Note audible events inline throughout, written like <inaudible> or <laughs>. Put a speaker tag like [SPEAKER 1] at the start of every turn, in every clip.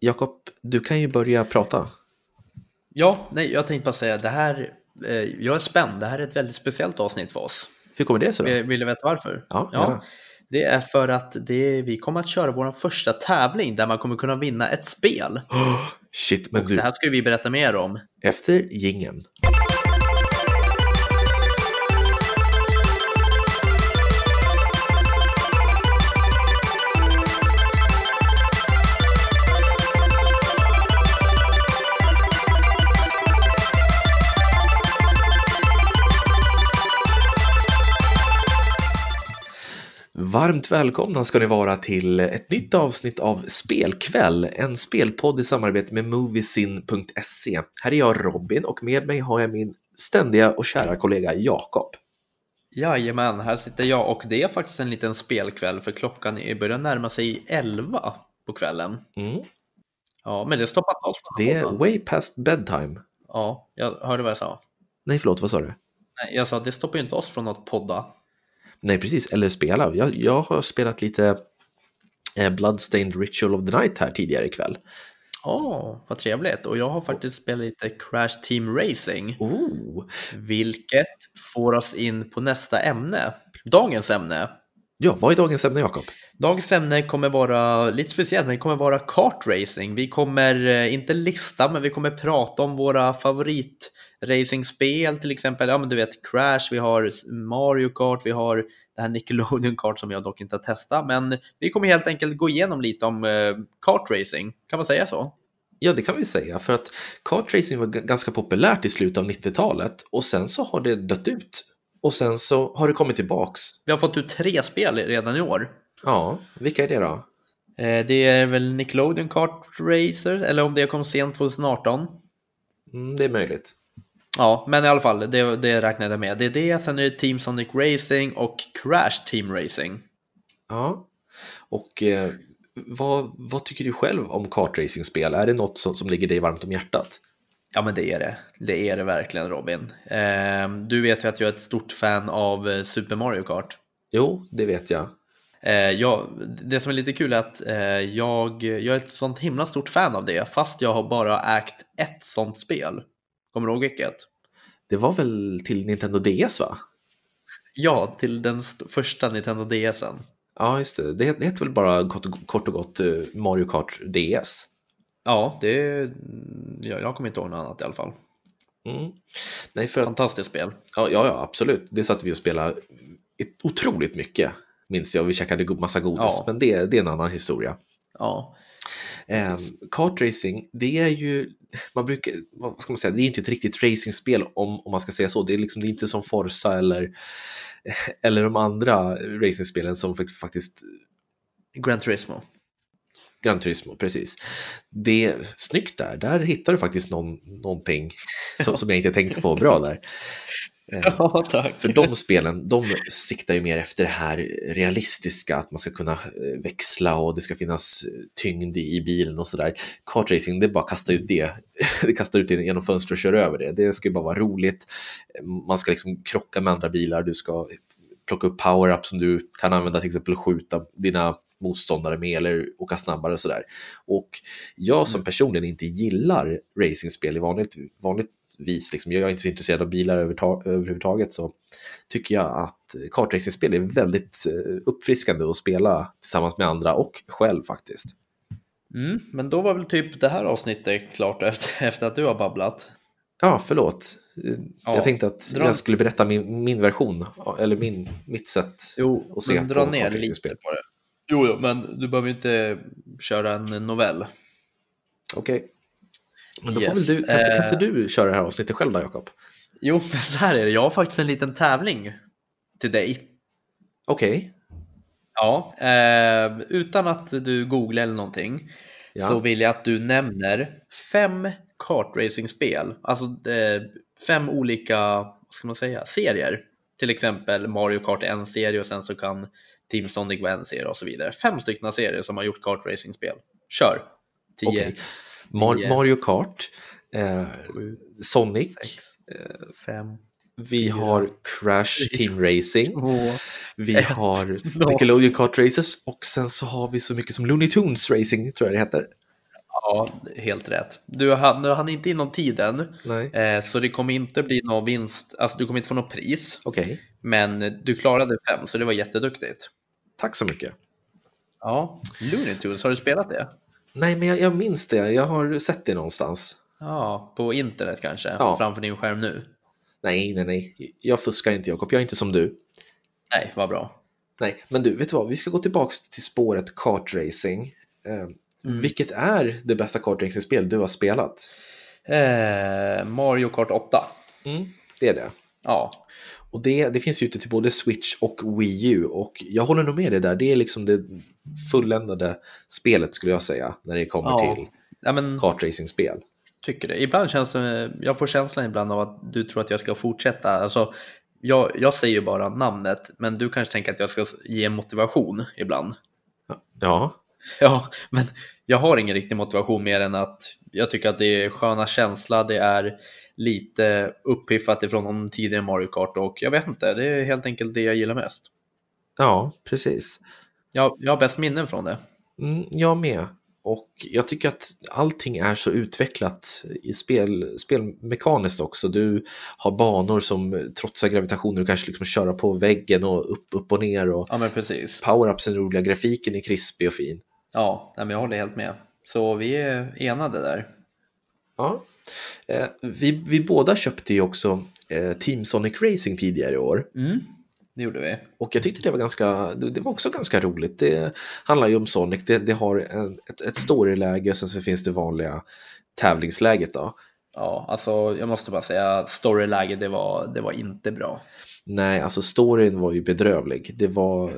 [SPEAKER 1] Jakob, du kan ju börja prata.
[SPEAKER 2] Ja, nej, jag tänkte bara säga det här. Eh, jag är spänd. Det här är ett väldigt speciellt avsnitt för oss.
[SPEAKER 1] Hur kommer det sig? då?
[SPEAKER 2] Vill, vill du veta varför?
[SPEAKER 1] Ja, gärna.
[SPEAKER 2] ja. Det är för att det, vi kommer att köra vår första tävling där man kommer kunna vinna ett spel.
[SPEAKER 1] <gasps> Shit, men
[SPEAKER 2] Det
[SPEAKER 1] du,
[SPEAKER 2] här ska ju vi berätta mer om.
[SPEAKER 1] efter gingen. Varmt välkomna ska ni vara till ett nytt avsnitt av Spelkväll, en spelpodd i samarbete med Moviesin.se. Här är jag Robin och med mig har jag min ständiga och kära kollega Jakob.
[SPEAKER 2] Jajamän, här sitter jag och det är faktiskt en liten spelkväll för klockan är- börjar närma sig 11 på kvällen.
[SPEAKER 1] Mm.
[SPEAKER 2] Ja, men det stoppar inte alls.
[SPEAKER 1] Det är way past bedtime.
[SPEAKER 2] Ja, jag hörde vad jag sa.
[SPEAKER 1] Nej, förlåt, vad sa du?
[SPEAKER 2] Nej, jag sa det stoppar ju inte oss från att podda.
[SPEAKER 1] Nej, precis, eller spela. Jag, jag har spelat lite eh, Bloodstained Ritual of the Night här tidigare ikväll.
[SPEAKER 2] Åh, vad trevligt. Och jag har faktiskt spelat lite Crash Team Racing,
[SPEAKER 1] Oh,
[SPEAKER 2] vilket får oss in på nästa ämne. Dagens ämne.
[SPEAKER 1] ja, vad är dagens ämne, Jakob?
[SPEAKER 2] Dagens ämne kommer vara lite speciellt, men det kommer vara kartracing. Vi kommer, eh, inte lista, men vi kommer prata om våra favoritracingspel, till exempel, ja men du vet Crash, vi har Mario Kart, vi har det här Nickelodeon Kart som jag dock inte har testat, men vi kommer helt enkelt gå igenom lite om eh, kartracing, kan man säga så?
[SPEAKER 1] Ja, det kan vi säga, för att kartracing var g- ganska populärt i slutet av 90-talet och sen så har det dött ut. Och sen så har det kommit tillbaks.
[SPEAKER 2] Vi har fått ut tre spel redan i år.
[SPEAKER 1] Ja, vilka är det då?
[SPEAKER 2] Eh, Det är väl Nickelodeon Kart Racer, eller om det kom sent 2018.
[SPEAKER 1] Mm, det är möjligt.
[SPEAKER 2] Ja, men i alla fall, det, det räknade jag med. Det är det, sen är det Team Sonic Racing och Crash Team Racing.
[SPEAKER 1] Ja. Och eh, vad, vad tycker du själv om kartracingspel? Är det något som, som ligger dig varmt om hjärtat?
[SPEAKER 2] Ja, men det är det. Det är det verkligen, Robin. Ehm, du vet ju att jag är ett stort fan av eh, Super Mario Kart.
[SPEAKER 1] Jo, det vet jag.
[SPEAKER 2] Eh, jag, det som är lite kul är att eh, jag, jag är ett sånt himla stort fan av det, fast jag har bara ägt ett sånt spel. Kommer du ihåg vilket?
[SPEAKER 1] Det var väl till Nintendo DS, va?
[SPEAKER 2] Ja, till den st- första Nitendo DSen.
[SPEAKER 1] Ja, just det. Det, det heter väl bara kort, kort och gott eh, Mario Kart DS.
[SPEAKER 2] Ja, det, mm, jag, jag kommer inte ihåg något annat i alla fall.
[SPEAKER 1] Mm. Nej, för att,
[SPEAKER 2] Fantastiskt spel.
[SPEAKER 1] Ja, ja, ja, absolut. Det satt vi och spelade ett- otroligt mycket, minns jag. Vi käkade go- massa godis,
[SPEAKER 2] Ja.
[SPEAKER 1] men det, det är en annan historia.
[SPEAKER 2] Ja,
[SPEAKER 1] Eh, kartracing, det är ju, man brukar, vad vad ska man säga, det är inte ett riktigt racingspel om, om man ska säga så. Det är liksom det är inte som Forza eller, <laughs> eller de andra racingspelen som fakt- faktiskt
[SPEAKER 2] Gran Turismo.
[SPEAKER 1] Gran Turismo, precis. Det är snyggt där, där hittar du faktiskt någon, någonting som, som jag inte tänkte på bra där.
[SPEAKER 2] Ja, <laughs> tack.
[SPEAKER 1] För de spelen, de siktar ju mer efter det här realistiska, att man ska kunna eh, växla och det ska finnas eh, tyngd i i bilen och sådär. Kartracing, det är bara att kasta ut det. <laughs> Det kastar ut det genom fönstret och kör över det. Det ska ju bara vara roligt. Man ska liksom krocka med andra bilar, du ska plocka upp power-up som du kan använda till exempel och skjuta dina motståndare med eller åka snabbare och sådär. Och jag som personligen inte gillar racingspel i vanligt, vanligtvis, liksom, jag är inte så intresserad av bilar överta- överhuvudtaget, så tycker jag att kartracingspel är väldigt eh, uppfriskande att spela tillsammans med andra och själv faktiskt.
[SPEAKER 2] Mm, men då var väl typ det här avsnittet klart efter, <laughs> efter att du har babblat.
[SPEAKER 1] Ja, förlåt. Eh,
[SPEAKER 2] Ja,
[SPEAKER 1] jag tänkte att
[SPEAKER 2] dra-
[SPEAKER 1] jag skulle berätta min, min version, eller min, mitt sätt.
[SPEAKER 2] Jo,
[SPEAKER 1] Och se
[SPEAKER 2] men
[SPEAKER 1] på
[SPEAKER 2] dra ner lite
[SPEAKER 1] kartracingspel.
[SPEAKER 2] på det. Jo, jo, men du behöver ju inte köra en novell.
[SPEAKER 1] Okej. Men då
[SPEAKER 2] Yes.
[SPEAKER 1] får väl du, kan, inte- kan
[SPEAKER 2] Eh.
[SPEAKER 1] inte du köra det här avsnittet själv då, Jakob?
[SPEAKER 2] Jo, <laughs> men så här är det. Jag har faktiskt en liten tävling till dig.
[SPEAKER 1] Okej.
[SPEAKER 2] Ja, eh, utan att du googlar eller någonting
[SPEAKER 1] Ja.
[SPEAKER 2] så vill jag att du nämner fem kartracingspel, alltså eh, fem olika, vad ska man säga, serier. Till exempel Mario Kart är en serie och sen så kan Team Sonic vara en serie och så vidare. Fem stycken serier som har gjort kartracingspel. Kör! 10,
[SPEAKER 1] Okej. Mar-
[SPEAKER 2] Tio.
[SPEAKER 1] Mario Kart, eh,
[SPEAKER 2] 7,
[SPEAKER 1] Sonic,
[SPEAKER 2] 6, 5,
[SPEAKER 1] vi har
[SPEAKER 2] <laughs>
[SPEAKER 1] Crash Team Racing.
[SPEAKER 2] 2,
[SPEAKER 1] Vi
[SPEAKER 2] Ett. <laughs>
[SPEAKER 1] har
[SPEAKER 2] Noll.
[SPEAKER 1] Nickelodeon Kart Races och sen så har vi så mycket som Looney Tunes Racing tror jag det heter.
[SPEAKER 2] Ja, helt rätt. Du hann, du hann inte inom tiden,
[SPEAKER 1] Nej.
[SPEAKER 2] eh, så det kommer inte bli någon vinst, alltså du kommer inte få något pris.
[SPEAKER 1] Okej,
[SPEAKER 2] Men du klarade fem, så det var jätteduktigt.
[SPEAKER 1] tack så mycket.
[SPEAKER 2] Ja, Looney Tunes, har du spelat det?
[SPEAKER 1] Nej, men jag, jag minns det. Jag har sett det någonstans.
[SPEAKER 2] Ja, på internet kanske,
[SPEAKER 1] Ja.
[SPEAKER 2] framför din skärm nu.
[SPEAKER 1] Nej, nej, nej. Jag fuskar inte, Jakob. Jag är inte som du.
[SPEAKER 2] Nej, vad bra.
[SPEAKER 1] Nej, men du, vet du vad? Vi ska gå tillbaka till spåret kartracing. Eh,
[SPEAKER 2] Mm.
[SPEAKER 1] Vilket är det bästa kartracingspel du har spelat?
[SPEAKER 2] Eh, Mario Kart 8.
[SPEAKER 1] Det är det.
[SPEAKER 2] Ja,
[SPEAKER 1] Och det, det finns ju ute till både Switch och Wii U och jag håller nog med dig där. Det är liksom det fulländade spelet skulle jag säga när det kommer
[SPEAKER 2] Ja.
[SPEAKER 1] till
[SPEAKER 2] ja men,
[SPEAKER 1] kartracingspel.
[SPEAKER 2] tycker det. Ibland känns det, jag får känslan ibland av att du tror att jag ska fortsätta. Alltså, jag, jag säger ju bara namnet, men du kanske tänker att jag ska ge motivation ibland.
[SPEAKER 1] Ja,
[SPEAKER 2] <laughs> Ja, men jag har ingen riktig motivation mer än att jag tycker att det är sköna känsla, det är lite upphiffat ifrån de tidigare Mario Kart och jag vet inte, det är helt enkelt det jag gillar mest.
[SPEAKER 1] ja precis.
[SPEAKER 2] Jag, jag har bäst minnen från det.
[SPEAKER 1] Mm, jag med. Och jag tycker att allting är så utvecklat i spel, spelmekaniskt också. Du har banor som trotsar gravitationen, du kanske liksom köra på väggen och upp, upp och ner. Och
[SPEAKER 2] Ja, men precis.
[SPEAKER 1] power-upsen är roliga, grafiken är krispig och fin.
[SPEAKER 2] Ja, nej, men jag håller helt med. Så vi är enade där.
[SPEAKER 1] Ja. Eh, vi, vi båda köpte ju också eh, Team Sonic Racing tidigare i år.
[SPEAKER 2] Mm, det gjorde vi.
[SPEAKER 1] Och jag tyckte det var, ganska, det det var också ganska roligt. Det handlar ju om Sonic, det, det har en, ett, ett storyläge och sen så finns det vanliga tävlingsläget. Då.
[SPEAKER 2] Ja, alltså jag måste bara säga, storyläget, det var, det var inte bra.
[SPEAKER 1] Nej, alltså storyn var ju bedrövlig. Det var,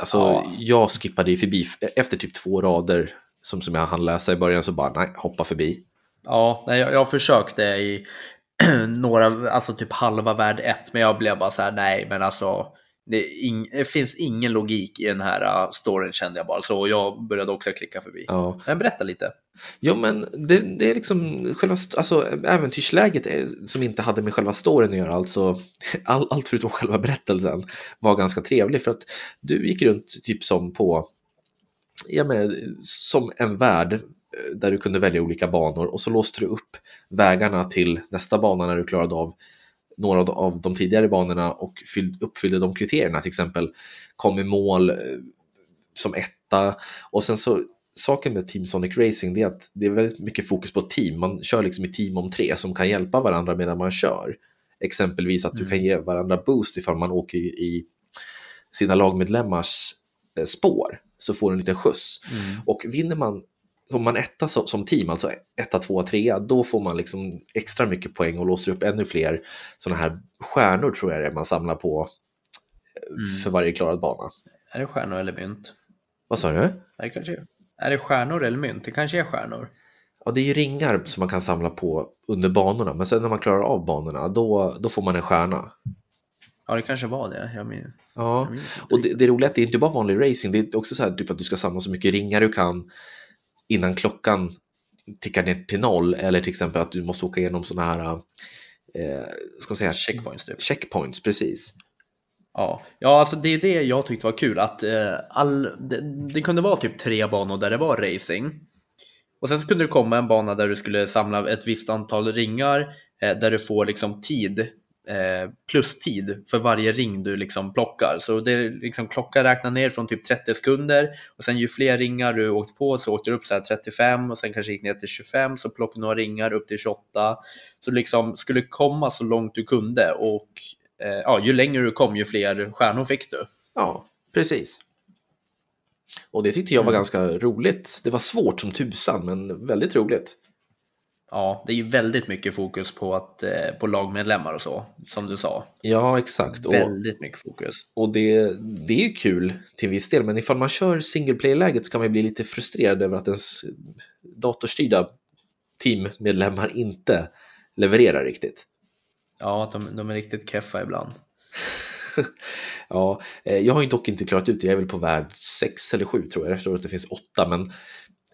[SPEAKER 1] alltså
[SPEAKER 2] Ja.
[SPEAKER 1] jag skippade ju förbi, efter typ två rader som, som jag hann läsa i början så bara nej, hoppa förbi.
[SPEAKER 2] Ja, nej, jag, jag försökte i <clears throat> några, alltså typ halva värld 1, men jag blev bara så här, nej, men alltså det, är ing, det finns ingen logik i den här uh, storyn kände jag bara, så jag började också klicka förbi.
[SPEAKER 1] Ja.
[SPEAKER 2] Men berätta lite.
[SPEAKER 1] Jo, men det, det är liksom själva st- alltså, äventyrsläget är, som inte hade med själva storyn att göra, alltså <laughs> all, allt förutom själva berättelsen var ganska trevlig för att du gick runt typ som på, ja men som en värld eh, där du kunde välja olika banor och så låste du upp vägarna till nästa bana när du klarade av några av de- av de tidigare banorna och fylld, uppfyllde de kriterierna, till exempel kom i mål eh, som etta och sen så saken med Team Sonic Racing det är att det är väldigt mycket fokus på team. Man kör liksom i team om tre som kan hjälpa varandra medan man kör. Exempelvis att du
[SPEAKER 2] Mm.
[SPEAKER 1] kan ge varandra boost ifall man åker i- i sina lagmedlemmars eh, spår så får du en liten skjuts. Och vinner man, om man etta som, som team, alltså etta, tvåa, trea, då får man liksom extra mycket poäng och låser upp ännu fler sådana här stjärnor tror jag det är man samlar på eh,
[SPEAKER 2] Mm.
[SPEAKER 1] för varje klarad bana.
[SPEAKER 2] Är det stjärnor eller mynt?
[SPEAKER 1] Vad sa du?
[SPEAKER 2] Är det, kanske, är det stjärnor eller mynt? Det kanske är stjärnor.
[SPEAKER 1] Ja, det är ju ringar som man kan samla på under banorna, men sen när man klarar av banorna, då, då får man en stjärna.
[SPEAKER 2] Ja, det kanske var det. Jag min-
[SPEAKER 1] Ja.
[SPEAKER 2] jag minns inte
[SPEAKER 1] Och det, det roliga är att det är inte bara vanlig racing, det är också så här typ att du ska samla så mycket ringar du kan innan klockan tickar ner till noll, eller till exempel att du måste åka igenom sådana här, eh, ska man säga,
[SPEAKER 2] Checkpoints typ.
[SPEAKER 1] checkpoints, precis.
[SPEAKER 2] Ja. ja, alltså det är det jag tyckte var kul. Att eh, all, det, det kunde vara typ tre banor där det var racing. Och sen så kunde det komma en bana där du skulle samla ett visst antal ringar eh, där du får liksom tid, eh, plus tid för varje ring du liksom plockar. Så det är liksom klockan räknar ner från typ 30 sekunder och sen ju fler ringar du åkt på så åkte du upp så här 35 och sen kanske gick ner till 25 så plockade du några ringar upp till 28. Så liksom skulle komma så långt du kunde och eh, ja, ju längre du kom ju fler stjärnor fick du.
[SPEAKER 1] Ja, precis. Och det tyckte jag var
[SPEAKER 2] Mm. ganska
[SPEAKER 1] ganska roligt. Det var svårt som tusan, men väldigt roligt.
[SPEAKER 2] Ja, det är ju väldigt mycket fokus på, att, eh, på lagmedlemmar och så, som du sa.
[SPEAKER 1] Ja, exakt. Och-
[SPEAKER 2] Väldigt mycket fokus.
[SPEAKER 1] Och det, det är ju kul till viss del, men ifall man kör single player-läget så kan man ju bli lite frustrerad över att ens datorstyrda teammedlemmar inte levererar riktigt.
[SPEAKER 2] Ja, att de, de är riktigt keffa ibland.
[SPEAKER 1] Ja, eh, jag har ju dock inte klarat ut det, jag är väl på värld 6 eller 7 tror jag, jag tror att det finns 8, men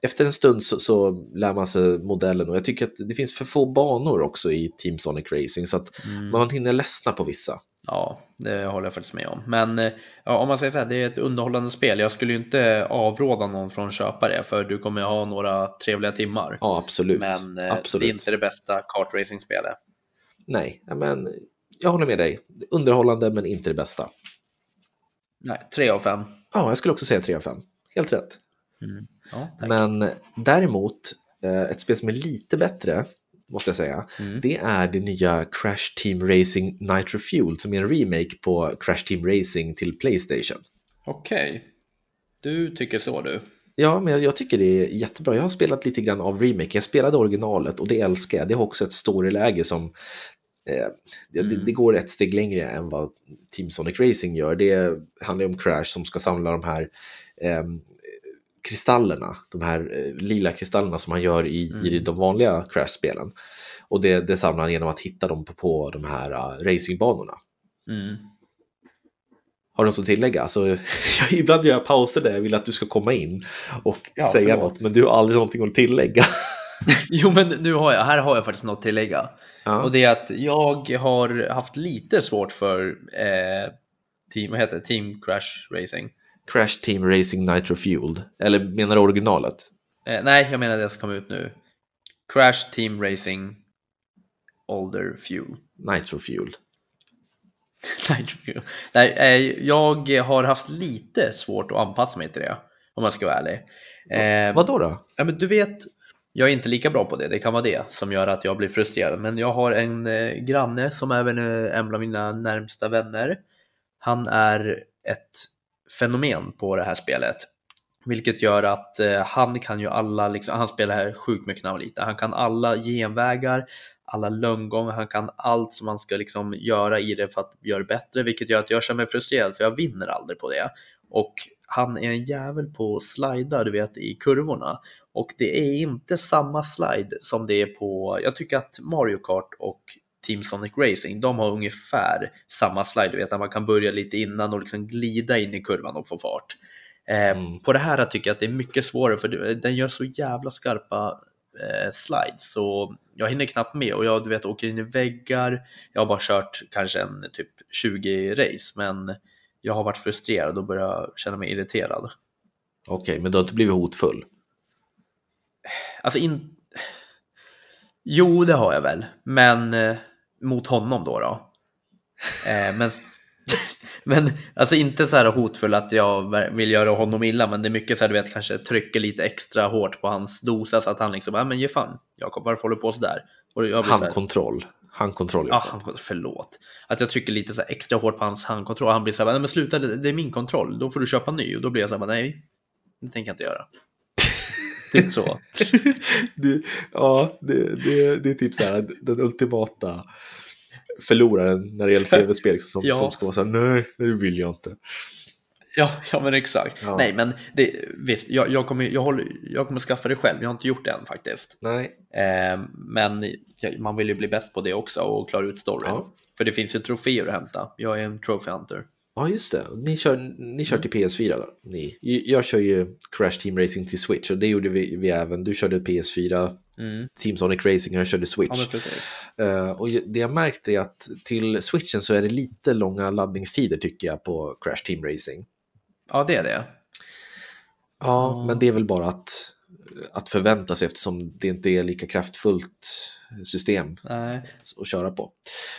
[SPEAKER 1] efter en stund så, så lär man sig modellen och jag tycker att det finns för få banor också i Team Sonic Racing så att
[SPEAKER 2] Mm.
[SPEAKER 1] man hinner ledsna på vissa.
[SPEAKER 2] Ja, det håller jag faktiskt med om. Men eh, ja, om man säger så här, det är ett underhållande spel. Jag skulle ju inte avråda någon från att köpa det, för du kommer ju ha några trevliga timmar.
[SPEAKER 1] Ja, absolut.
[SPEAKER 2] Men eh,
[SPEAKER 1] absolut.
[SPEAKER 2] det är inte det bästa kartracing-spelet.
[SPEAKER 1] Nej, ja, men jag håller med dig. Underhållande men inte det bästa.
[SPEAKER 2] Nej, 3 av 5.
[SPEAKER 1] Ja, jag skulle också säga 3 av 5. Helt rätt.
[SPEAKER 2] Ja, tack.
[SPEAKER 1] Men däremot, eh, ett spel som är lite bättre, måste jag säga,
[SPEAKER 2] Mm.
[SPEAKER 1] det är det nya Crash Team Racing Nitro Fuel som är en remake på Crash Team Racing till Playstation.
[SPEAKER 2] Okej, du tycker så du.
[SPEAKER 1] Ja, men jag, jag tycker det är jättebra. Jag har spelat lite grann av remake. Jag spelade originalet och det älskar jag. Det har också ett storyläge som eh, det, det- det går ett steg längre än vad Team Sonic Racing gör. Det handlar ju om Crash som ska samla de här eh, kristallerna, de här eh, lila kristallerna som han gör i, i de vanliga Crash-spelen. Och det, det samlar han genom att hitta dem på, på de här eh, racingbanorna.
[SPEAKER 2] Mm.
[SPEAKER 1] Har du något att tillägga? Alltså, <laughs> jag, ibland gör jag pauser där jag vill att du ska komma in och
[SPEAKER 2] Ja,
[SPEAKER 1] säga
[SPEAKER 2] förlåt.
[SPEAKER 1] något, men du har aldrig någonting att tillägga. <laughs>
[SPEAKER 2] Jo, men nu har jag, här har jag faktiskt något att tillägga.
[SPEAKER 1] Ja.
[SPEAKER 2] Och det är att jag har haft lite svårt för eh, team, vad heter det? team Crash Racing.
[SPEAKER 1] Crash Team Racing Nitro Fueled, eller menar du originalet?
[SPEAKER 2] Eh, nej, jag menar det som kom ut nu. Crash Team Racing Older Fuel. <laughs>
[SPEAKER 1] Nitro Fueled.
[SPEAKER 2] Nej, fuel. nej, eh, jag har haft lite svårt att anpassa mig till det, om jag ska vara ärlig. Eh,
[SPEAKER 1] Vad då? då?
[SPEAKER 2] Ja, men du vet, jag är inte lika bra på det. Det kan vara det som gör att jag blir frustrerad. Men jag har en eh, granne som även är en av mina närmsta vänner. Han är ett fenomen på det här spelet. Vilket gör att eh, han kan ju alla, liksom, han spelar här sjukt mycket när han var liten. Han kan alla genvägar, alla lönngångar, han kan allt som man ska liksom göra i det för att göra det bättre. Vilket gör att jag känner mig frustrerad för jag vinner aldrig på det. Och han är en jävel på att slida, du vet, i kurvorna. Och det är inte samma slide som det är på, jag tycker att Mario Kart och Team Sonic Racing, de har ungefär samma slide, du vet att man kan börja lite innan och liksom glida in i kurvan och få fart. Eh,
[SPEAKER 1] Mm.
[SPEAKER 2] På det här tycker jag att det är mycket svårare för det- den gör så jävla skarpa eh, slides så jag hinner knappt med och jag du vet, åker in i väggar, jag har bara kört kanske en typ 20 race men jag har varit frustrerad och börjat känna mig irriterad.
[SPEAKER 1] Okej, men du har inte blivit hotfull?
[SPEAKER 2] Alltså in... Jo, det har jag väl. Men eh, mot honom då. då. Eh, men, <laughs> men alltså inte så här hotfull att jag ver- vill göra honom illa. Men det är mycket så här, du vet, kanske trycker lite extra hårt på hans dosa så att han liksom, ja men ge fan, Jakob, varför håller du på sådär? Och jag blir så här,
[SPEAKER 1] Handkontroll. Handkontroll,
[SPEAKER 2] ah,
[SPEAKER 1] ja.
[SPEAKER 2] handkon- förlåt. Att jag trycker lite så här extra hårt på hans handkontroll. Han blir så här, nej men sluta, det det är min kontroll, då får du köpa en ny. Och då blir jag så här, nej, det tänker jag inte göra. typ så.
[SPEAKER 1] Det, ja, det, det, det är typ så här den ultimata förloraren när det <laughs> gäller tv-spel som,
[SPEAKER 2] Ja.
[SPEAKER 1] som ska vara så här, nej, det vill jag inte.
[SPEAKER 2] <laughs> Ja, ja men exakt.
[SPEAKER 1] Ja.
[SPEAKER 2] Nej, men det, visst, jag, jag, kommer, jag, håller, jag kommer skaffa det själv. Jag har inte gjort det än faktiskt.
[SPEAKER 1] Nej,
[SPEAKER 2] Eh, men jag- man vill ju bli bäst på det också och klara ut storyn.
[SPEAKER 1] Ja.
[SPEAKER 2] För det finns ju troféer att hämta. Jag är en trophy hunter.
[SPEAKER 1] Ja, just det. Ni kör, ni kör till
[SPEAKER 2] Mm.
[SPEAKER 1] PS4 då? Ni. Jag kör ju Crash Team Racing till Switch och det gjorde vi, vi även. Du körde PS4,
[SPEAKER 2] Mm.
[SPEAKER 1] Team Sonic Racing och jag körde
[SPEAKER 2] Ja,
[SPEAKER 1] Switch.
[SPEAKER 2] men precis.
[SPEAKER 1] Eh, och det jag märkt är att till Switchen så är det lite långa laddningstider tycker jag på Crash Team Racing.
[SPEAKER 2] Ja, det är det.
[SPEAKER 1] Ja,
[SPEAKER 2] Ja.
[SPEAKER 1] men det är väl bara att, att förvänta sig eftersom det inte är lika kraftfullt system
[SPEAKER 2] Nej.
[SPEAKER 1] att köra på.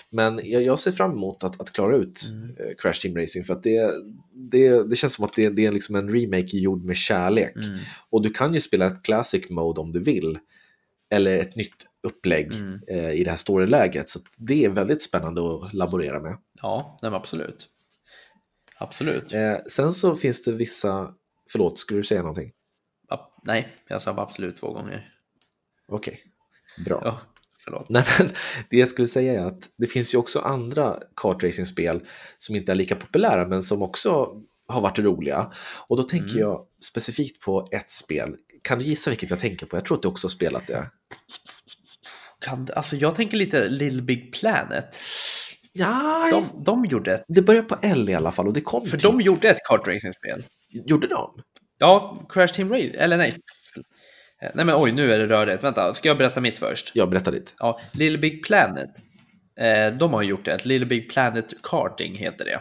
[SPEAKER 1] Men jag, jag ser fram emot att, att klara ut
[SPEAKER 2] Mm.
[SPEAKER 1] eh, Crash Team Racing för att det, det, det känns som att det, det är liksom en remake gjord med kärlek.
[SPEAKER 2] Mm.
[SPEAKER 1] Och du kan ju spela ett classic mode om du vill, eller ett nytt upplägg
[SPEAKER 2] Mm.
[SPEAKER 1] eh, i det här storyläget. Så att det är väldigt spännande att laborera med.
[SPEAKER 2] Ja, nej, men absolut. Absolut.
[SPEAKER 1] Eh, sen så finns det vissa, förlåt, skulle du säga någonting?
[SPEAKER 2] Ab- nej, jag sa absolut två gånger.
[SPEAKER 1] Okej, bra.
[SPEAKER 2] Ja, förlåt.
[SPEAKER 1] Nej, men det jag skulle säga är att det finns ju också andra kartracingspel som inte är lika populära men som också har varit roliga. Och då tänker
[SPEAKER 2] Mm.
[SPEAKER 1] jag specifikt på ett spel. Kan du gissa vilket jag tänker på? Jag tror att du också har spelat det.
[SPEAKER 2] Kan, alltså, jag tänker lite Little Big Planet.
[SPEAKER 1] Ja,
[SPEAKER 2] De, de gjorde ett,
[SPEAKER 1] det börjar på L i alla fall och det kom
[SPEAKER 2] för
[SPEAKER 1] till-
[SPEAKER 2] de gjorde ett kartracingspel.
[SPEAKER 1] Gjorde de?
[SPEAKER 2] Ja, Crash Team Raid, eller nej. Eh, Nej men oj, nu är det rörigt. Vänta, ska jag berätta mitt först?
[SPEAKER 1] Jag berättar ditt.
[SPEAKER 2] Ja, Little Big Planet Eh, de har gjort ett, Little Big Planet Karting heter det.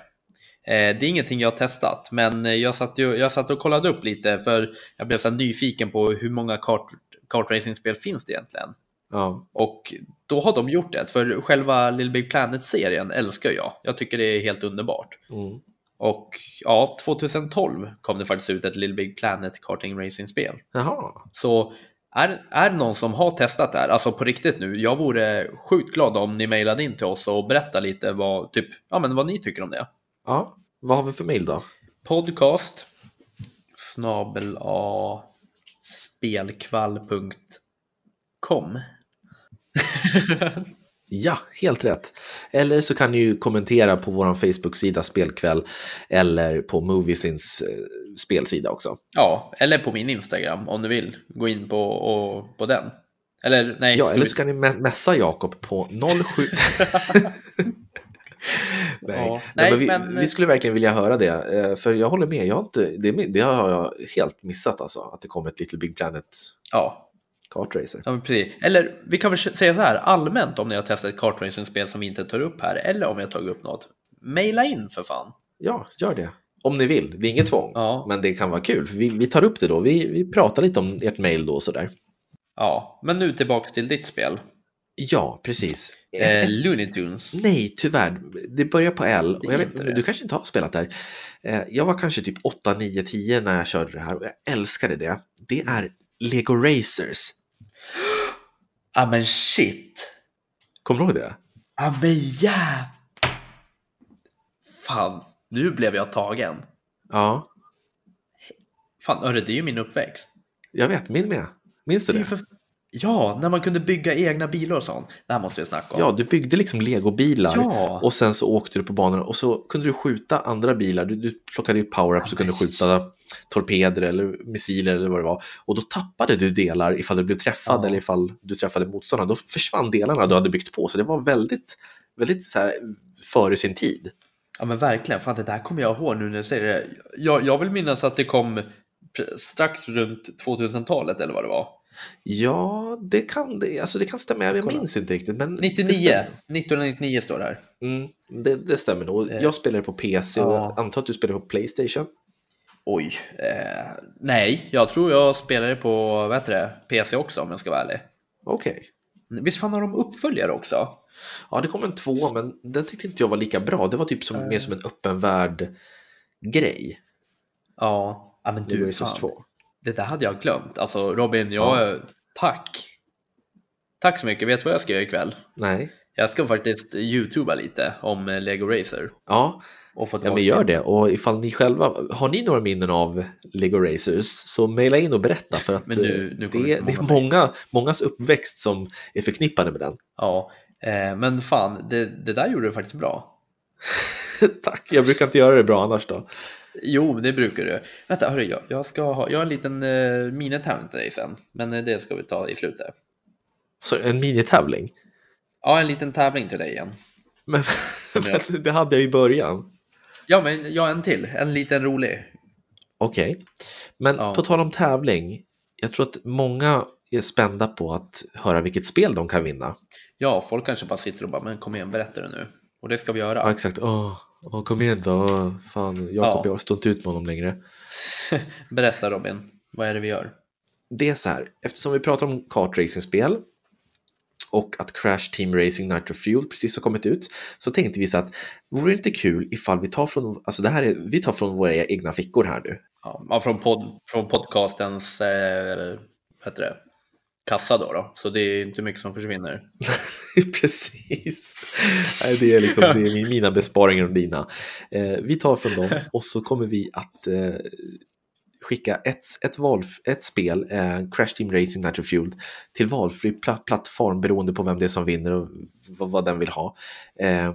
[SPEAKER 2] Eh, det är ingenting jag har testat, men eh, jag satt, ju, jag satt och kollade upp lite för jag blev så här nyfiken på hur många kart, kartracingspel finns det egentligen.
[SPEAKER 1] Ja.
[SPEAKER 2] Och då har de gjort det, för själva Little Big Planet-serien älskar jag. Jag tycker det är helt underbart.
[SPEAKER 1] Mm.
[SPEAKER 2] Och ja, 2012 kom det faktiskt ut ett Little Big Planet karting racing-spel.
[SPEAKER 1] Jaha.
[SPEAKER 2] Så är, är det någon som har testat det här, alltså på riktigt nu, jag vore sjukt glad om ni mejlade in till oss och berätta lite vad, typ, ja, men vad ni tycker om det.
[SPEAKER 1] Ja. Vad har vi för mail då?
[SPEAKER 2] Podcast snabel a spelkvall.com
[SPEAKER 1] Ja, helt rätt. Eller så kan ni ju kommentera på vår Facebook-sida Spelkväll eller på Moviesins eh, spelsida också.
[SPEAKER 2] Ja, eller på min Instagram om du vill. Gå in på, och, på den. Eller nej,
[SPEAKER 1] Ja,
[SPEAKER 2] ska
[SPEAKER 1] eller
[SPEAKER 2] vi-
[SPEAKER 1] så kan ni me- messa Jakob på
[SPEAKER 2] <laughs>
[SPEAKER 1] 07... Nej,
[SPEAKER 2] Ja.
[SPEAKER 1] Nej,
[SPEAKER 2] Nej,
[SPEAKER 1] men vi,
[SPEAKER 2] men- eh,
[SPEAKER 1] vi skulle verkligen vilja höra det, eh, för jag håller med. Jag har inte, det, är min- det har jag helt missat alltså, att det kom ett Little Big Planet
[SPEAKER 2] ja,
[SPEAKER 1] kartracer.
[SPEAKER 2] ja, men precis. Eller vi kan väl säga så här allmänt om ni har testat ett kartracingspel som vi inte tar upp här, eller om jag tagit upp något. Maila in för fan.
[SPEAKER 1] Ja, gör det. Om ni vill, det är inget tvång.
[SPEAKER 2] Ja.
[SPEAKER 1] Men det kan vara kul, för vi, vi tar upp det då. Vi, vi pratar lite om ert mejl då och sådär.
[SPEAKER 2] Ja, men nu tillbaks till ditt spel.
[SPEAKER 1] Ja, precis.
[SPEAKER 2] <laughs> Eh, Looney Tunes.
[SPEAKER 1] Nej, tyvärr. Det börjar på L.
[SPEAKER 2] Det
[SPEAKER 1] Och jag
[SPEAKER 2] är
[SPEAKER 1] vet,
[SPEAKER 2] inte det.
[SPEAKER 1] du kanske inte har spelat där. Eh, Jag var kanske typ 8, 9, 10 när jag körde det här och jag älskade det. Det
[SPEAKER 2] Mm.
[SPEAKER 1] är Lego Racers.
[SPEAKER 2] Ja men shit.
[SPEAKER 1] Kommer du ihåg det?
[SPEAKER 2] Ja men jäv... Fan, nu blev jag tagen.
[SPEAKER 1] Ja,
[SPEAKER 2] Fan, hörru, det är ju min uppväxt.
[SPEAKER 1] jag vet. Min med. Minns du
[SPEAKER 2] Det är ju
[SPEAKER 1] det?
[SPEAKER 2] för... Ja, när man kunde bygga egna bilar och sånt. Det här måste vi snacka om.
[SPEAKER 1] Ja, du byggde liksom legobilar
[SPEAKER 2] Ja.
[SPEAKER 1] och sen så åkte du på banorna och så kunde du skjuta andra bilar. Du, du plockade upp power-ups och kunde skjuta torpeder eller missiler eller vad det var. Och då tappade du delar ifall du blev träffad
[SPEAKER 2] Ja.
[SPEAKER 1] eller ifall du träffade motståndaren. Då försvann delarna du hade byggt på. Så det var väldigt, väldigt så här, före sin tid.
[SPEAKER 2] Ja men verkligen, fan det där kommer jag ihåg nu när du säger det. Jag, jag vill minnas att det kom pr- strax runt 2000-talet eller vad det var.
[SPEAKER 1] Ja, det kan, det, alltså det kan stämma. Jag
[SPEAKER 2] Kolla.
[SPEAKER 1] minns inte riktigt. Men det
[SPEAKER 2] 99,
[SPEAKER 1] stämmer.
[SPEAKER 2] 1999 står det här.
[SPEAKER 1] Mm, det, det stämmer nog.
[SPEAKER 2] Eh.
[SPEAKER 1] Jag spelade på PC och
[SPEAKER 2] Ja.
[SPEAKER 1] jag antar att du spelade på Playstation.
[SPEAKER 2] Oj, eh, nej, jag tror jag spelade på vad heter det, PC också om jag ska vara ärlig.
[SPEAKER 1] Okej.
[SPEAKER 2] Visst fan har de uppföljare också?
[SPEAKER 1] Ja, det kom en två, men den tyckte inte jag var lika bra. Det var typ som, mer som en öppen värld-grej.
[SPEAKER 2] Ja, ja men
[SPEAKER 1] Lego
[SPEAKER 2] du
[SPEAKER 1] Racers
[SPEAKER 2] fan,
[SPEAKER 1] 2.
[SPEAKER 2] det där hade jag glömt. Alltså Robin, jag, tack. Tack så mycket, vet du vad jag ska göra ikväll?
[SPEAKER 1] Nej.
[SPEAKER 2] Jag ska faktiskt youtuba lite om eh, Lego Racer.
[SPEAKER 1] Ja,
[SPEAKER 2] Och få
[SPEAKER 1] ja,
[SPEAKER 2] tillbaka
[SPEAKER 1] men gör det. Och ifall ni själva, har ni några minnen av Lego Racers så mejla in och berätta för att
[SPEAKER 2] Men nu-
[SPEAKER 1] eh,
[SPEAKER 2] nu kommer
[SPEAKER 1] det, är-
[SPEAKER 2] det
[SPEAKER 1] det
[SPEAKER 2] för
[SPEAKER 1] är
[SPEAKER 2] många
[SPEAKER 1] många, mångas uppväxt som är förknippade med den. <laughs>
[SPEAKER 2] Ja, eh, men fan, det, det där gjorde du faktiskt bra.
[SPEAKER 1] Tack, jag brukar inte göra det bra annars då.
[SPEAKER 2] Jo, det brukar du. Vänta, hörru, jag, jag ska ha, jag har en liten eh, minitävling till dig sen, men eh, det ska vi ta i slutet.
[SPEAKER 1] Så en minitävling.
[SPEAKER 2] Ja, en liten tävling till dig igen.
[SPEAKER 1] Men, <laughs> men det hade jag i början.
[SPEAKER 2] Ja, men jag har en till, en liten rolig.
[SPEAKER 1] Okej. Men
[SPEAKER 2] Ja.
[SPEAKER 1] på tal om tävling, jag tror att många är spända på att höra vilket spel de kan vinna.
[SPEAKER 2] Ja, folk kanske bara sitter och bara, men kom igen, berätta det nu. Och det ska vi
[SPEAKER 1] Ja,
[SPEAKER 2] göra.
[SPEAKER 1] exakt. Åh, åh, kom igen då. Åh, Fan, Jakob,
[SPEAKER 2] Ja.
[SPEAKER 1] jag står inte ut med honom längre.
[SPEAKER 2] Berätta Robin, vad är det vi gör?
[SPEAKER 1] Det är så här, eftersom vi pratar om kartracingspel och att Crash Team Racing Nitro Fuel precis har kommit ut så tänkte vi så att vore det inte kul ifall vi tar från, alltså det här är, vi tar från våra egna fickor här nu.
[SPEAKER 2] Ja, ja, från, pod, från podcastens, eh, eller vad heter det, kassa då, då. Så det är inte mycket som försvinner.
[SPEAKER 1] <laughs> precis. Nej, det är, liksom, det är min- mina besparingar och dina. Eh, vi tar från dem och så kommer vi att eh, skicka ett, ett, val, ett spel, eh, Crash Team Racing Nitro Fueled, till valfri pla- plattform beroende på vem det är som vinner och vad, vad den vill ha. Eh,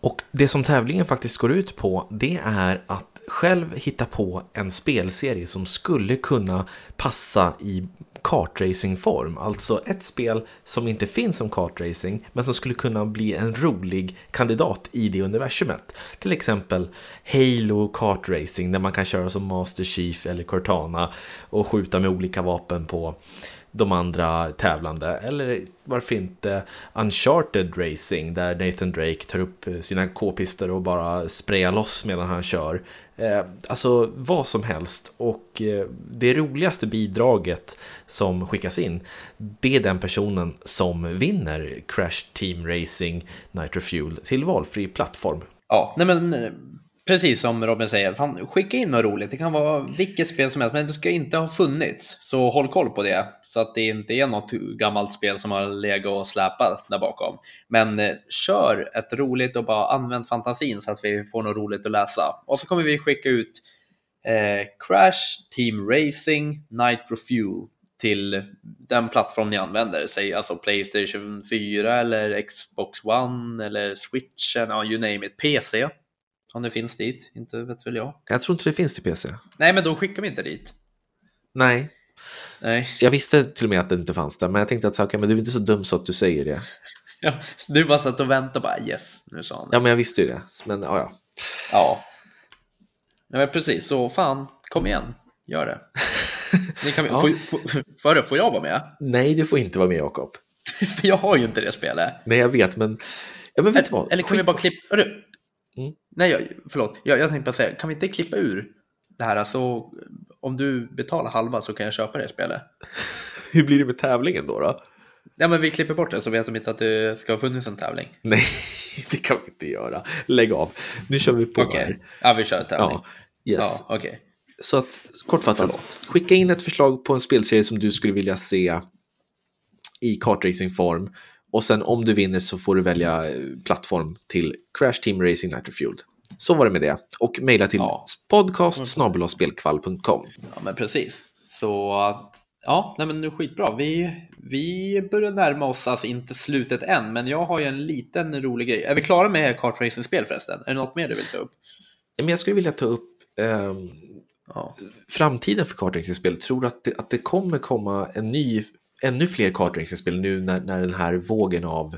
[SPEAKER 1] och det som tävlingen faktiskt går ut på det är att själv hitta på en spelserie som skulle kunna passa i kartracingform. Alltså ett spel som inte finns som kartracing men som skulle kunna bli en rolig kandidat i det universumet. Till exempel Halo kartracing där man kan köra som Master Chief eller Cortana och skjuta med olika vapen på de andra tävlande. Eller varför inte Uncharted Racing där Nathan Drake tar upp sina k-pister och bara sprayar loss medan han kör. Eh, alltså vad som helst och eh, det roligaste bidraget som skickas in det är den personen som vinner Crash Team Racing Nitro Fuel till valfri plattform.
[SPEAKER 2] Ja, nej men eh, precis som Robin säger, fan, skicka in något roligt. Det kan vara vilket spel som helst, men det ska inte ha funnits. Så håll koll på det, så att det inte är något gammalt spel som har legat och släpat där bakom. Men eh, kör ett roligt och bara använd fantasin så att vi får något roligt att läsa. Och så kommer vi skicka ut eh, Crash Team Racing Nitro Fuel till den plattform ni använder, säg alltså Playstation 4 eller Xbox One eller Switchen, ja you name it, PC om det finns dit, inte vet väl jag.
[SPEAKER 1] Jag tror inte det finns till PC.
[SPEAKER 2] Nej, men då skickar vi inte dit.
[SPEAKER 1] Nej,
[SPEAKER 2] Nej, <laughs>
[SPEAKER 1] jag visste till och med att det inte fanns där, men jag tänkte att så här, okej, men du är inte så dum så att du säger det.
[SPEAKER 2] ja, du bara satt och väntade och bara yes, nu sa han det.
[SPEAKER 1] Ja, men jag visste ju det. Men ja, ja.
[SPEAKER 2] Ja. ja. men precis, så fan, kom igen,
[SPEAKER 1] <laughs>
[SPEAKER 2] gör det. Ni kan,
[SPEAKER 1] Ja.
[SPEAKER 2] får, får, före, får jag vara med? <laughs>
[SPEAKER 1] Nej, du får inte vara med Jakob.
[SPEAKER 2] För jag har ju inte det spelet.
[SPEAKER 1] Nej, jag vet, men... Ja, men vet du vad?
[SPEAKER 2] Eller kan vi bara klippa... Hörru.
[SPEAKER 1] Mm.
[SPEAKER 2] Nej, jag, förlåt. Jag, jag tänkte bara säga, kan vi inte klippa ur det här? Alltså, om du betalar halva så kan jag köpa det spelet.
[SPEAKER 1] Hur blir det med tävlingen då? då?
[SPEAKER 2] Ja, men vi klipper bort det så vet de inte att det ska ha funnits en tävling.
[SPEAKER 1] Nej, <laughs> det kan vi inte göra. Lägg av. Nu kör vi på
[SPEAKER 2] Okej,
[SPEAKER 1] här.
[SPEAKER 2] ja, vi kör en tävling.
[SPEAKER 1] Ja, yes.
[SPEAKER 2] Ja, okej.
[SPEAKER 1] Så att, kortfattat, skicka in ett förslag på en spelserie som du skulle vilja se i kartracingform. Och sen om du vinner så får du välja eh, plattform till Crash Team Racing Nitro Fuel. Så var det med det. Och mejla till
[SPEAKER 2] Ja.
[SPEAKER 1] podcast snabbelavspelkvall.com.
[SPEAKER 2] Ja, men precis. Så att, ja, nej men nu skitbra. Vi, vi börjar närma oss, alltså inte slutet än, men jag har ju en liten rolig grej. Är vi klara med kartracing-spel förresten? Är det något mer du vill ta upp?
[SPEAKER 1] Men jag skulle vilja ta upp ehm,
[SPEAKER 2] Ja.
[SPEAKER 1] framtiden för kartracingspel. Tror du att det, att det kommer komma en ny, ännu fler kartracingspel nu när, när den här vågen av,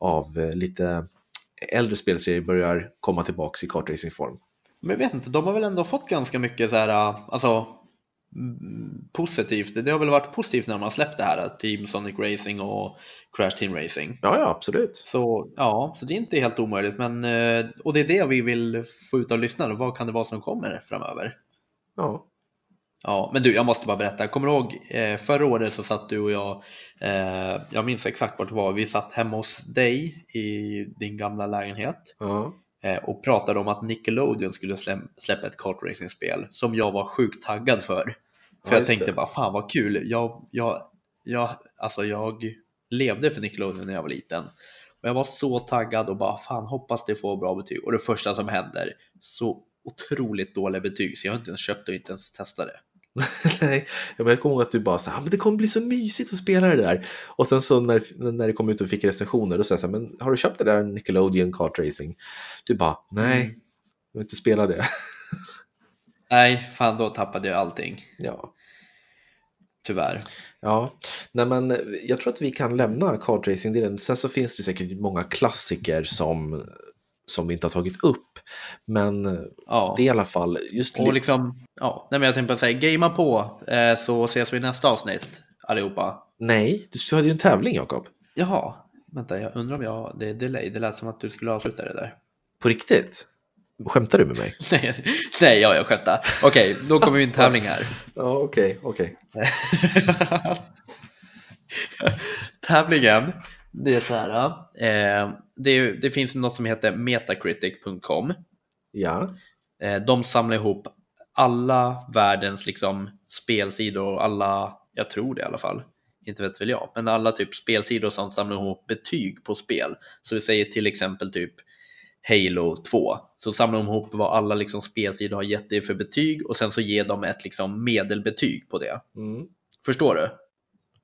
[SPEAKER 1] av eh, lite äldre spelserier börjar komma tillbaks i kartracingform?
[SPEAKER 2] Men jag vet inte, de har väl ändå fått ganska mycket så här, alltså mm, positivt. Det har väl varit positivt när de har släppt det här, äh, Team Sonic Racing och Crash Team Racing.
[SPEAKER 1] Ja, ja, absolut.
[SPEAKER 2] Så ja, så det är inte helt omöjligt. Men, eh, och det är det vi vill få ut av lyssnarna. Vad kan det vara som kommer framöver?
[SPEAKER 1] Ja.
[SPEAKER 2] Ja, men du, jag måste bara berätta. Kommer du ihåg eh, förra året så satt du och jag, eh, jag minns exakt vart det var, vi satt hemma hos dig i din gamla lägenhet
[SPEAKER 1] ja. <laughs>
[SPEAKER 2] eh, och pratade om att Nickelodeon skulle slä- släppa ett kartracing-spel som jag var sjukt taggad för.
[SPEAKER 1] Ja,
[SPEAKER 2] För jag
[SPEAKER 1] just
[SPEAKER 2] tänkte
[SPEAKER 1] det.
[SPEAKER 2] bara, fan vad kul, jag, jag, jag, alltså jag levde för Nickelodeon när jag var liten. Och jag var så taggad och bara, fan hoppas det får bra betyg. Och det första som händer, så otroligt dåliga betyg så jag har inte ens köpt och inte ens testat det.
[SPEAKER 1] Nej, ja, men jag kommer ihåg att du bara sa ah, men det kommer bli så mysigt att spela det där. Och sen så när, när det kom ut och fick recensioner, då sa jag så här, men har du köpt det där Nickelodeon kartracing? Du bara, nej, jag vill inte spela det. <laughs>
[SPEAKER 2] Nej, fan då tappade jag allting,
[SPEAKER 1] ja.
[SPEAKER 2] tyvärr.
[SPEAKER 1] Ja, nej men eh, jag tror att vi kan lämna kartracing-delen. Sen så finns det säkert många klassiker som, som vi inte har tagit upp. Men eh,
[SPEAKER 2] Ja.
[SPEAKER 1] det är i alla fall just
[SPEAKER 2] Och
[SPEAKER 1] li-
[SPEAKER 2] liksom, ja, nej men jag tänkte bara säga, gamea på eh, så ses vi i nästa avsnitt allihopa.
[SPEAKER 1] Nej, du hade ju en tävling Jakob.
[SPEAKER 2] Jaha, vänta, jag undrar om jag... Det är delay. Det lät som att du skulle avsluta det där. <laughs>
[SPEAKER 1] På riktigt? Skämtar du med mig?
[SPEAKER 2] Nej, nej ja, jag skämtar. Okej, då kommer vi in tävling här.
[SPEAKER 1] Ja, okej, okej.
[SPEAKER 2] Tävlingen, det är så här. Eh, det, är- det finns något som heter metacritic.com.
[SPEAKER 1] Ja,
[SPEAKER 2] Eh, de samlar ihop alla världens liksom, spelsidor och alla, jag tror det i alla fall, inte vet väl jag, men alla typ spelsidor som samlar ihop betyg på spel. Så vi säger till exempel typ Halo 2, så samlar de ihop vad alla liksom spelsidor har gett det för betyg och sen så ger de ett liksom medelbetyg på det.
[SPEAKER 1] mm.
[SPEAKER 2] Förstår du?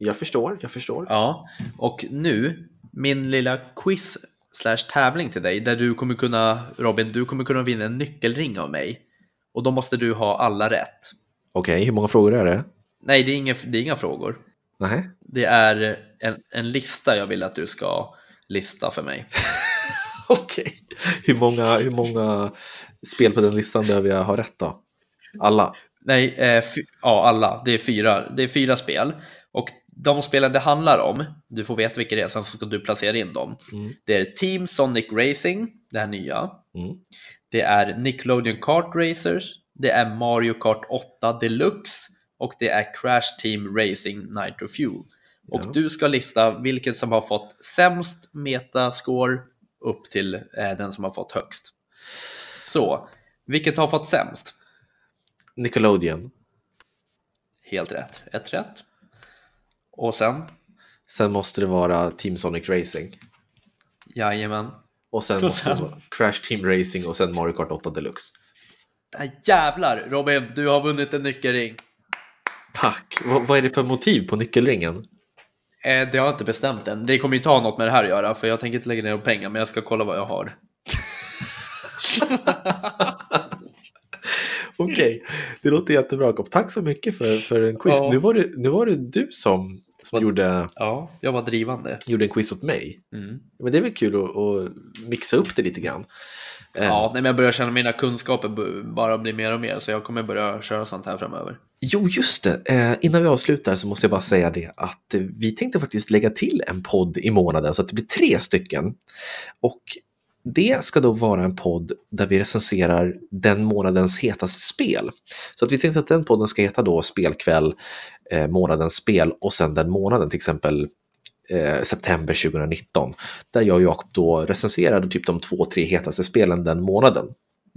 [SPEAKER 1] jag förstår, jag förstår.
[SPEAKER 2] Ja, och nu min lilla quiz slash tävling till dig där du kommer kunna, Robin, du kommer kunna vinna en nyckelring av mig. Och då måste du ha alla rätt.
[SPEAKER 1] Okej, hur många frågor är det?
[SPEAKER 2] Nej, det är inga, det är inga frågor.
[SPEAKER 1] Nej. <laughs>
[SPEAKER 2] Det är en, en lista jag vill att du ska lista för mig.
[SPEAKER 1] Okej. Hur, många, hur många spel på den listan behöver jag ha rätt då? Alla?
[SPEAKER 2] Nej, eh, fy, ja alla. Det är fyra, det är fyra spel. Och de spelen det handlar om, du får veta vilka det är, sen så ska du placera in dem.
[SPEAKER 1] Mm.
[SPEAKER 2] Det är Team Sonic Racing, det här nya.
[SPEAKER 1] Mm.
[SPEAKER 2] Det är Nickelodeon Kart Racers, det är Mario Kart 8 Deluxe och det är Crash Team Racing Nitro Fuel. Och
[SPEAKER 1] Ja.
[SPEAKER 2] du ska lista vilken som har fått sämst metascore upp till eh, den som har fått högst. Så, vilket har fått sämst?
[SPEAKER 1] Nickelodeon.
[SPEAKER 2] Helt rätt, ett rätt. Och sen,
[SPEAKER 1] Sen måste det vara Team Sonic Racing.
[SPEAKER 2] jajamän.
[SPEAKER 1] Och sen
[SPEAKER 2] Och
[SPEAKER 1] måste det
[SPEAKER 2] sen-
[SPEAKER 1] vara Crash Team Racing och sen Mario Kart 8 Deluxe.
[SPEAKER 2] Ah, Jävlar, Robin, du har vunnit en nyckelring.
[SPEAKER 1] Tack! Vad- vad är det för motiv på nyckelringen?
[SPEAKER 2] Eh, det har jag inte bestämt än. Det kommer ju inte ha något med det här att göra, för jag tänker inte lägga ner några pengar, men jag ska kolla vad jag har.
[SPEAKER 1] Okej, det låter jättebra. Jakob. Tack så mycket för, för en quiz.
[SPEAKER 2] Ja.
[SPEAKER 1] Nu, var det, nu var det du som, som
[SPEAKER 2] Vad-
[SPEAKER 1] gjorde,
[SPEAKER 2] Ja, Mm. jag var drivande.
[SPEAKER 1] gjorde en quiz åt mig. Men det är väl kul att, att mixa upp det lite grann. Eh,
[SPEAKER 2] Ja, nej, men jag börjar känna att mina kunskaper b- bara blir mer och mer, så jag kommer börja köra sånt här framöver.
[SPEAKER 1] Jo, just det. Eh, innan vi avslutar så måste jag bara säga det att eh, vi tänkte faktiskt lägga till en podd i månaden så att det blir tre stycken. Och det ska då vara en podd där vi recenserar den månadens hetaste spel. Så att vi tänkte att den podden ska heta då Spelkväll, eh, månadens spel och sen den månaden, till exempel eh, september 2019. Där jag och Jakob då recenserade typ de två, tre hetaste spelen den månaden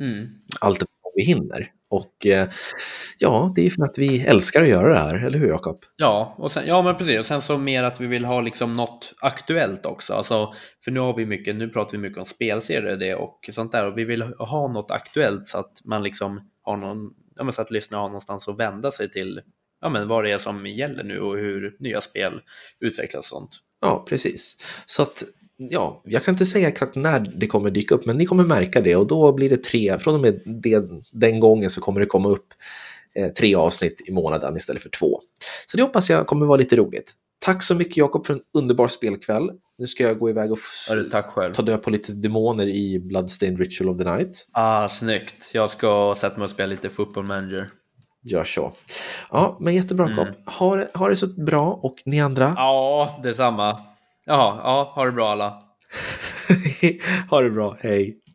[SPEAKER 2] Mm.
[SPEAKER 1] allt det vi hinner. Och eh, ja, det är för att vi älskar att göra det här, eller hur Jakob?
[SPEAKER 2] Ja, och sen, ja, men precis. Och sen så mer att vi vill ha liksom något aktuellt också. Alltså, för nu har vi mycket, nu pratar vi mycket om spelserier och det och sånt där och vi vill ha något aktuellt så att man liksom har någon, ja, men så att lyssnarna har någonstans att vända sig till ja, men vad det är som gäller nu och hur nya spel utvecklas och sånt.
[SPEAKER 1] Ja, precis. Så att, ja, jag kan inte säga exakt när det kommer dyka upp, men ni kommer märka det och då blir det tre, från och med den, den gången så kommer det komma upp eh, tre avsnitt i månaden istället för två. Så det hoppas jag kommer vara lite roligt. Tack så mycket Jakob för en underbar spelkväll. Nu ska jag gå iväg och f-
[SPEAKER 2] Hörru, tack själv.
[SPEAKER 1] ta död på lite demoner i Bloodstained Ritual of the Night.
[SPEAKER 2] Ah, snyggt. Jag ska sätta mig och spela lite football manager.
[SPEAKER 1] Gör så. Ja, men jättebra Jakob.
[SPEAKER 2] Mm.
[SPEAKER 1] Ha, det- ha det så bra och ni andra,
[SPEAKER 2] Ja, detsamma. Ja, ja, ha det bra alla.
[SPEAKER 1] <laughs> ha det bra. Hej!